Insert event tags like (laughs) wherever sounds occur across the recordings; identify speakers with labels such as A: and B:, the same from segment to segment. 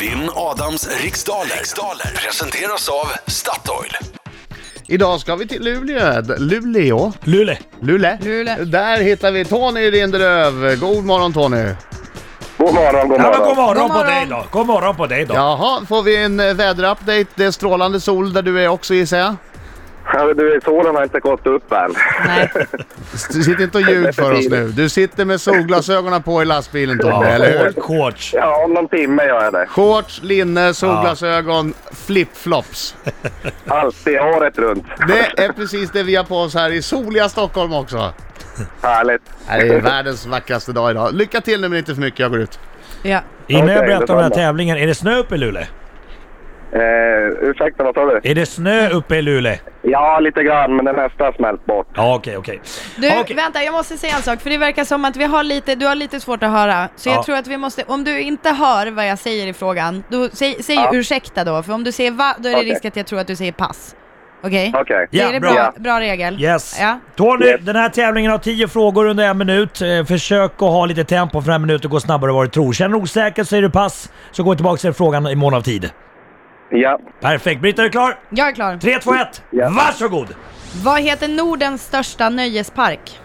A: Vinn Adams riksdaler. riksdaler presenteras av Statoil.
B: Idag ska vi till Luleå. D- Luleå?
C: Lule.
B: Lule?
D: Lule.
B: Där hittar vi Tony Lindelöf. God morgon Tony!
E: God morgon, god
C: Ja, men
E: morgon.
C: god morgon
D: God
C: på
D: morgon.
C: dig då. God morgon på dig då.
B: Jaha, får vi en eh, väderupdate? Det är strålande sol där du är också gissar jag?
E: Ja, men Du, solen har inte gått upp än.
D: Nej,
B: S- Sitt inte och ljug för oss nu. Du sitter med solglasögonen på i lastbilen Tony, eller hur?
C: Ja, coach.
E: (laughs) Ja, om någon timme gör jag det.
B: Shorts, linne, solglasögon, flipflops.
E: Alltid, året runt.
B: Det är precis det vi har på oss här i soliga Stockholm också.
E: Härligt.
B: Det är världens vackraste dag idag. Lycka till nu men inte för mycket, jag går ut.
D: ja.
C: Innan jag
E: Okej,
C: berättar om den här
E: detsamma.
C: tävlingen, är det snö uppe i Luleå?
E: Eh, ursäkta, vad sa du?
C: Är det snö
D: Mm.
C: uppe i Luleå?
E: Ja, lite grann, men den mesta har smält bort.
C: Ja, okej, okej.
D: Du,
C: Okej.
D: vänta, jag måste säga en sak, för det verkar som att vi har lite, du har lite svårt att höra. Så
C: Ja.
D: jag tror att vi måste, om du inte hör vad jag säger i frågan, då, säg, säg
E: Ja.
D: ursäkta då, för om du säger va, då är det
E: Okej.
D: risk att jag tror att du säger pass. Okej?
E: Okej.
C: Ja,
D: är det
C: bra.
D: bra,
E: Ja.
D: bra, regel?
C: Yes.
D: Ja.
C: Tony,
E: Yes.
C: den här tävlingen har 10 frågor under en minut. Eh, Försök att ha lite tempo för en minut och gå snabbare än vad du tror. Känner du osäker så är du pass, så gå tillbaka till frågan i mån av tid.
E: Ja.
C: Perfekt. Britta, är du klar?
D: Jag är klar.
C: 3, 2, 1.
E: Ja.
C: Varsågod!
D: Vad heter Nordens största nöjespark?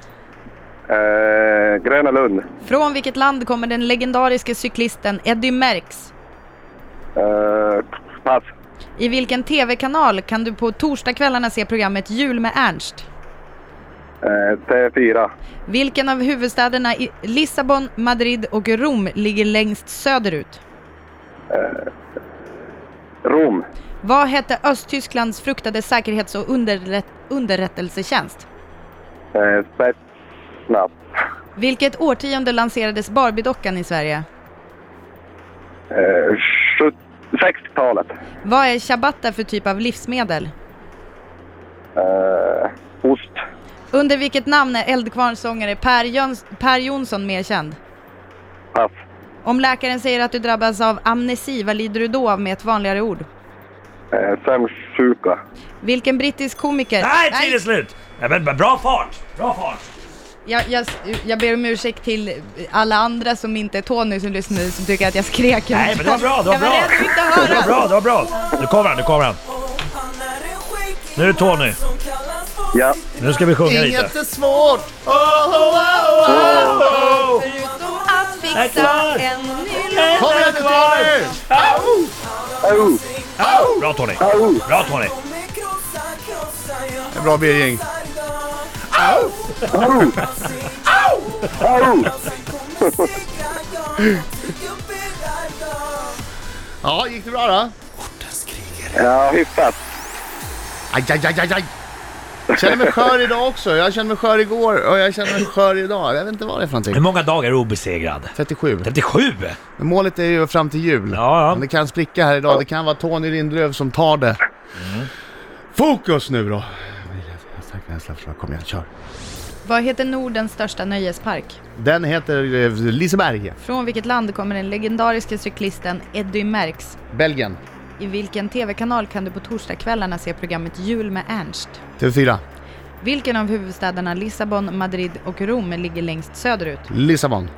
E: Eh, Gröna Lund.
D: Från vilket land kommer den legendariske cyklisten Eddie Merckx?
E: Eh, pass.
D: I vilken TV-kanal kan du på torsdagskvällarna se programmet Jul med Ernst?
E: Eh, T4.
D: Vilken av huvudstäderna i Lissabon, Madrid och Rom ligger längst söderut?
E: Rom.
D: Vad hette Östtysklands fruktade säkerhets och underrätt underrättelsetjänst?
E: Eh, Spetsnaz.
D: Vilket årtionde lanserades Barbiedockan i Sverige?
E: Eh, sjut- 60-talet.
D: Vad är ciabatta för typ av livsmedel?
E: Eh, ost.
D: Under vilket namn är Eldkvarnsångare per, Jöns per Jonsson mer känd?
E: Pass.
D: Om läkaren säger att du drabbas av amnesi, vad lider du då av med ett vanligare ord?
E: Eh, Sömnsjuka.
D: Vilken brittisk komiker...
C: Nej, tiden är slut! Ja, men, men bra fart! Bra fart!
D: Jag, jag, jag ber om ursäkt till alla andra som inte är Tony som lyssnar nu som tycker att jag skrek.
C: Nej, men det var bra, det var
D: jag
C: bra.
D: var rädd att inte
C: Det var
D: höra.
C: bra, det var bra. Nu kommer han, nu kommer han.
F: Nu är det Tony.
E: Ja.
C: Nu ska vi sjunga lite.
B: är svårt!
D: Förutom att fixa en ny låt.
B: Kom igen nu Tony!
E: Au!
C: Bra Tony!
E: Au!
C: Bra Tony!
F: Det är bra Birging. Au!
E: Au! Au!
F: (laughs)
E: (laughs)
B: Ja, gick det bra då?
E: Ja, hyfsat.
B: Aj, aj, aj, aj, aj. Jag känner mig skör idag också. Jag kände mig skör igår och jag känner mig skör idag. Jag vet inte vad det är för
C: Hur
B: någonting.
C: många dagar är du obesegrad?
B: 37.
C: 37!
B: Men målet är ju fram till jul.
C: Ja, ja.
B: Men det kan spricka här idag. Det kan vara Tony Lindelöf som tar det.
C: Mm.
B: Fokus nu då! Kom igen, kör.
D: Vad heter Nordens största nöjespark?
B: Den heter eh, Liseberg,
D: Från vilket land kommer den legendariske cyklisten Eddie Merckx?
B: Belgien.
D: I vilken tv-kanal kan du på torsdagskvällarna se programmet Jul med Ernst?
B: TV4,
D: Vilken av huvudstäderna Lissabon, Madrid och Rom ligger längst söderut?
B: Lissabon,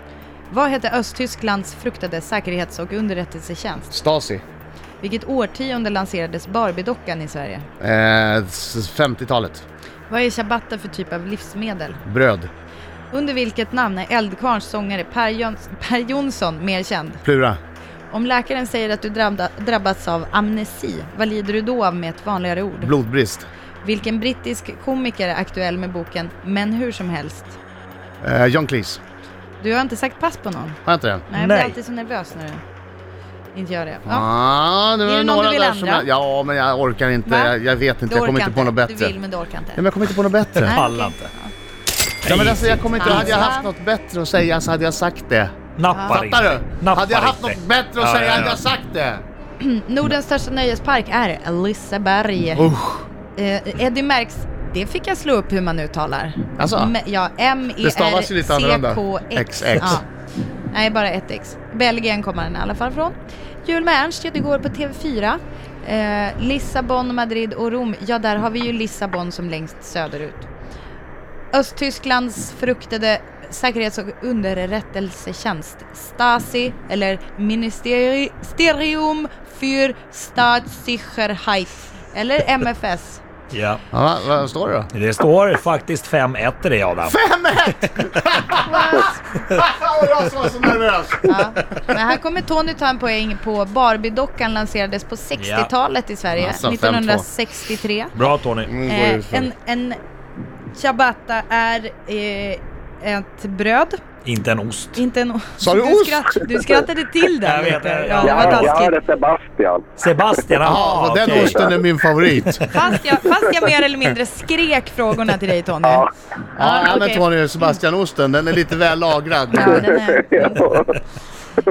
D: Vad hette Östtysklands fruktade säkerhets och underrättelsetjänst?
B: Stasi,
D: Vilket årtionde lanserades Barbiedockan i Sverige?
B: eh, s- 50-talet,
D: Vad är ciabatta för typ av livsmedel?
B: bröd,
D: Under vilket namn är Eldkvarns sångare per, Jöns per Jonsson mer känd?
B: Plura,
D: Om läkaren säger att du drabba- drabbats av amnesi, vad lider du då av med ett vanligare ord?
B: blodbrist,
D: Vilken brittisk komiker är aktuell med boken Men hur som helst?
B: eh, John Cleese.
D: Du har inte sagt pass på någon?
B: Har jag inte det?
D: Nej, jag blir
C: Nej.
D: alltid så nervös när du inte gör det. Ja.
B: Ah, det var
D: Är det någon
B: några
D: du vill
B: där som
D: ändra?
B: jag, Ja, men jag orkar inte.
D: Va?
B: Jag, jag vet inte.
D: Du
B: Jag kommer
D: orkar
B: inte på något bättre.
D: Du vill men du orkar inte.
B: Nej, men jag kommer inte på något bättre.
D: Nej.
C: Pallar inte.
B: Ja, men alltså, jag kommer inte,
D: Nej.
B: hade jag haft något bättre att säga så hade jag sagt det.
C: Nappar
B: Fattar
C: inte.
B: du?
C: Nappar
B: Hade jag haft
C: inte.
B: något bättre att
C: Ja,
B: säga
C: ja,
B: hade
C: ja.
B: jag sagt det.
D: Mm, Nordens största nöjespark är Liseberg.
B: Usch.
D: Eh, Eddie Merckx, det fick jag slå upp hur man uttalar.
B: Alltså?
D: M- E ja,
B: Det stavas ju lite annorlunda.
D: M-E-R-C-K-X.
B: XX.
D: Ja. Nej, bara ett X. Belgien kommer den i alla fall från. Jul med Ernst ja, det går på TV4. Eh, Lissabon, Madrid och Rom. Ja, där har vi ju Lissabon som längst söderut. Östtysklands fruktade säkerhets och underrättelsetjänst, Stasi, eller Ministerium för Staatssicherheit, eller MFS.
C: Ja.
B: Ja, va- vad står det då?
C: Det står faktiskt 5-1 till dig Adam.
B: (laughs) 5-1! Fan vad jag som var så nervös!
D: Ja. Men här kommer Tony ta en poäng på Barbie-dockan lanserades på 60-talet i Sverige,
C: Alltså,
B: Massa
D: 1963.
C: Bra Tony.
B: Nu går det
D: Eh,
B: utför.
D: en, en ciabatta är eh, ett bröd,
C: Inte en ost.
D: inte en
B: Sa du ost?
D: skratt, du skrattade till där
C: Jag vet,
D: lite.
C: jag-
D: Ja, det
E: Ja,
D: var
E: ja, det
D: taskigt.
E: är Sebastian. (laughs)
C: Sebastian,
B: Ja,
C: jaha.
B: den
C: okej.
B: osten är min favorit.
D: Fast jag, fast jag mer eller mindre skrek frågorna till dig Tony.
E: Ja.
B: Ja, ja men
D: okej.
B: Tony, Sebastian-osten, den är lite väl lagrad.
D: Ja, den
E: (laughs)
D: är...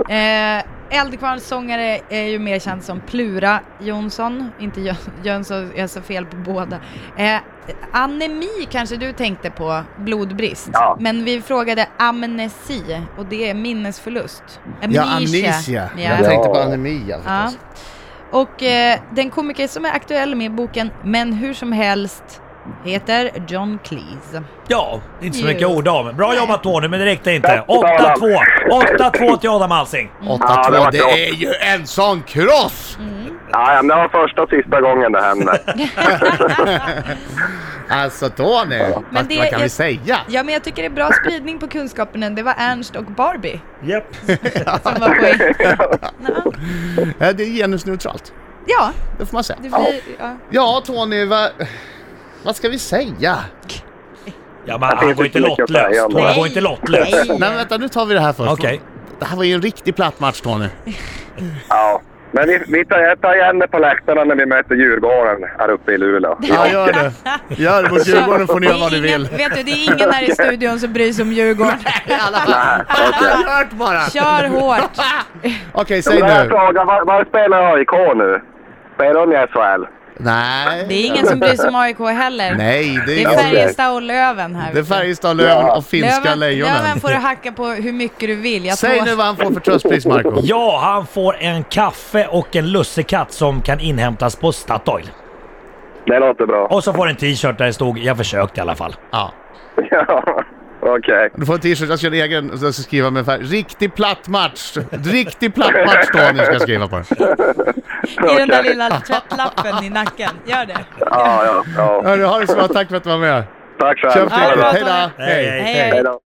D: mm. eh, Eldkvarns sångare är ju mer känd som Plura Jonsson, inte Jö- Jönsson, jag sa fel på båda. Eh, anemi kanske du tänkte på, blodbrist.
E: Ja.
D: Men vi frågade amnesi och det är minnesförlust.
B: Ja,
D: Amnesia.
B: amnesia.
D: Ja.
B: Jag tänkte på anemia
D: Ja.
B: förstås.
D: Och eh, den komiker som är aktuell med boken Men hur som helst heter John Cleese.
C: Ja, inte så
D: Ju.
C: mycket ord av. Bra jobbat Tony, men det räckte inte.
E: Tack, Adam.
C: 8-2. 8-2 till Adam Alsing.
B: 8-2,
E: Ja, det var
B: det
E: bra.
B: är ju en sån kross!
E: Ja, men det var första och sista gången det hände.
B: Alltså Tony, vad,
D: det
B: vad kan
D: är-
B: vi säga?
D: Ja, men jag tycker det är bra spridning på kunskapen. Det var Ernst och Barbie
C: Japp.
D: som var (laughs) poäng.
B: Eh, Det är genusneutralt,
D: Ja,
B: det får man säga.
D: det blir... Ja.
B: Ja Tony, vad, vad ska vi säga?
C: Ja, men han
E: finns
C: går
E: inte
C: inte
E: mycket att säga
C: lottlös.
E: om
C: Tony
E: det.
C: går inte lottlös.
B: Nej men vänta, nu tar vi det här först.
C: Okej.
B: Det här var ju en riktig platt match Tony.
E: Ja. Men vi, vi tar, jag tar igen det på läktarna när vi möter Djurgården här uppe i Luleå.
B: Ja, gör det. Gör det mot Djurgården får ni göra vad ni
D: Det är ingen-
B: vill.
D: Vet du, det är ingen här i studion som bryr sig om Djurgården.
E: Nej, okej.
B: Kört bara!
D: Kör hårt.
B: Okej,
E: Men
B: säg
E: då har jag
B: nu.
E: frågar, var, var spelar AIK nu? Spelar de i SHL?
D: Det
B: Nej,
D: är ingen som bryr sig om AIK heller.
B: nej det
D: Det
B: är
D: är
B: inte.
D: Färjestad och Löven här.
B: Det är Färjestad, Löven och finska
D: Löven, Löven
B: lejonen.
D: får du hacka på hur mycket du vill. Jag
B: Säg
D: tror-
B: nu vad han får för tröstpris Marco.
D: (laughs)
C: Ja, han får en kaffe och en lussekatt som kan inhämtas på Statoil.
E: Det låter bra.
C: Och så får en t-shirt där det stod “Jag försökte i alla fall”.
B: Ja.
E: (laughs) Ja, Okej.
B: Du får en t-shirt, jag ska göra en egen och så ska jag skriva med färg. Riktig platt match! Riktig platt match Tony ska jag skriva på den.
D: I den där
E: Okej.
D: lilla tvättlappen i nacken. Gör det.
E: Ja, ja, ja.
B: Hörru, ha det så bra, tack för att du var med.
E: Tack
B: Kör
E: själv.
D: Ja, det är bra,
B: försiktigt, hejdå!
D: Tony.
C: Hej, hej.
D: Hej, hej.
E: Hej då.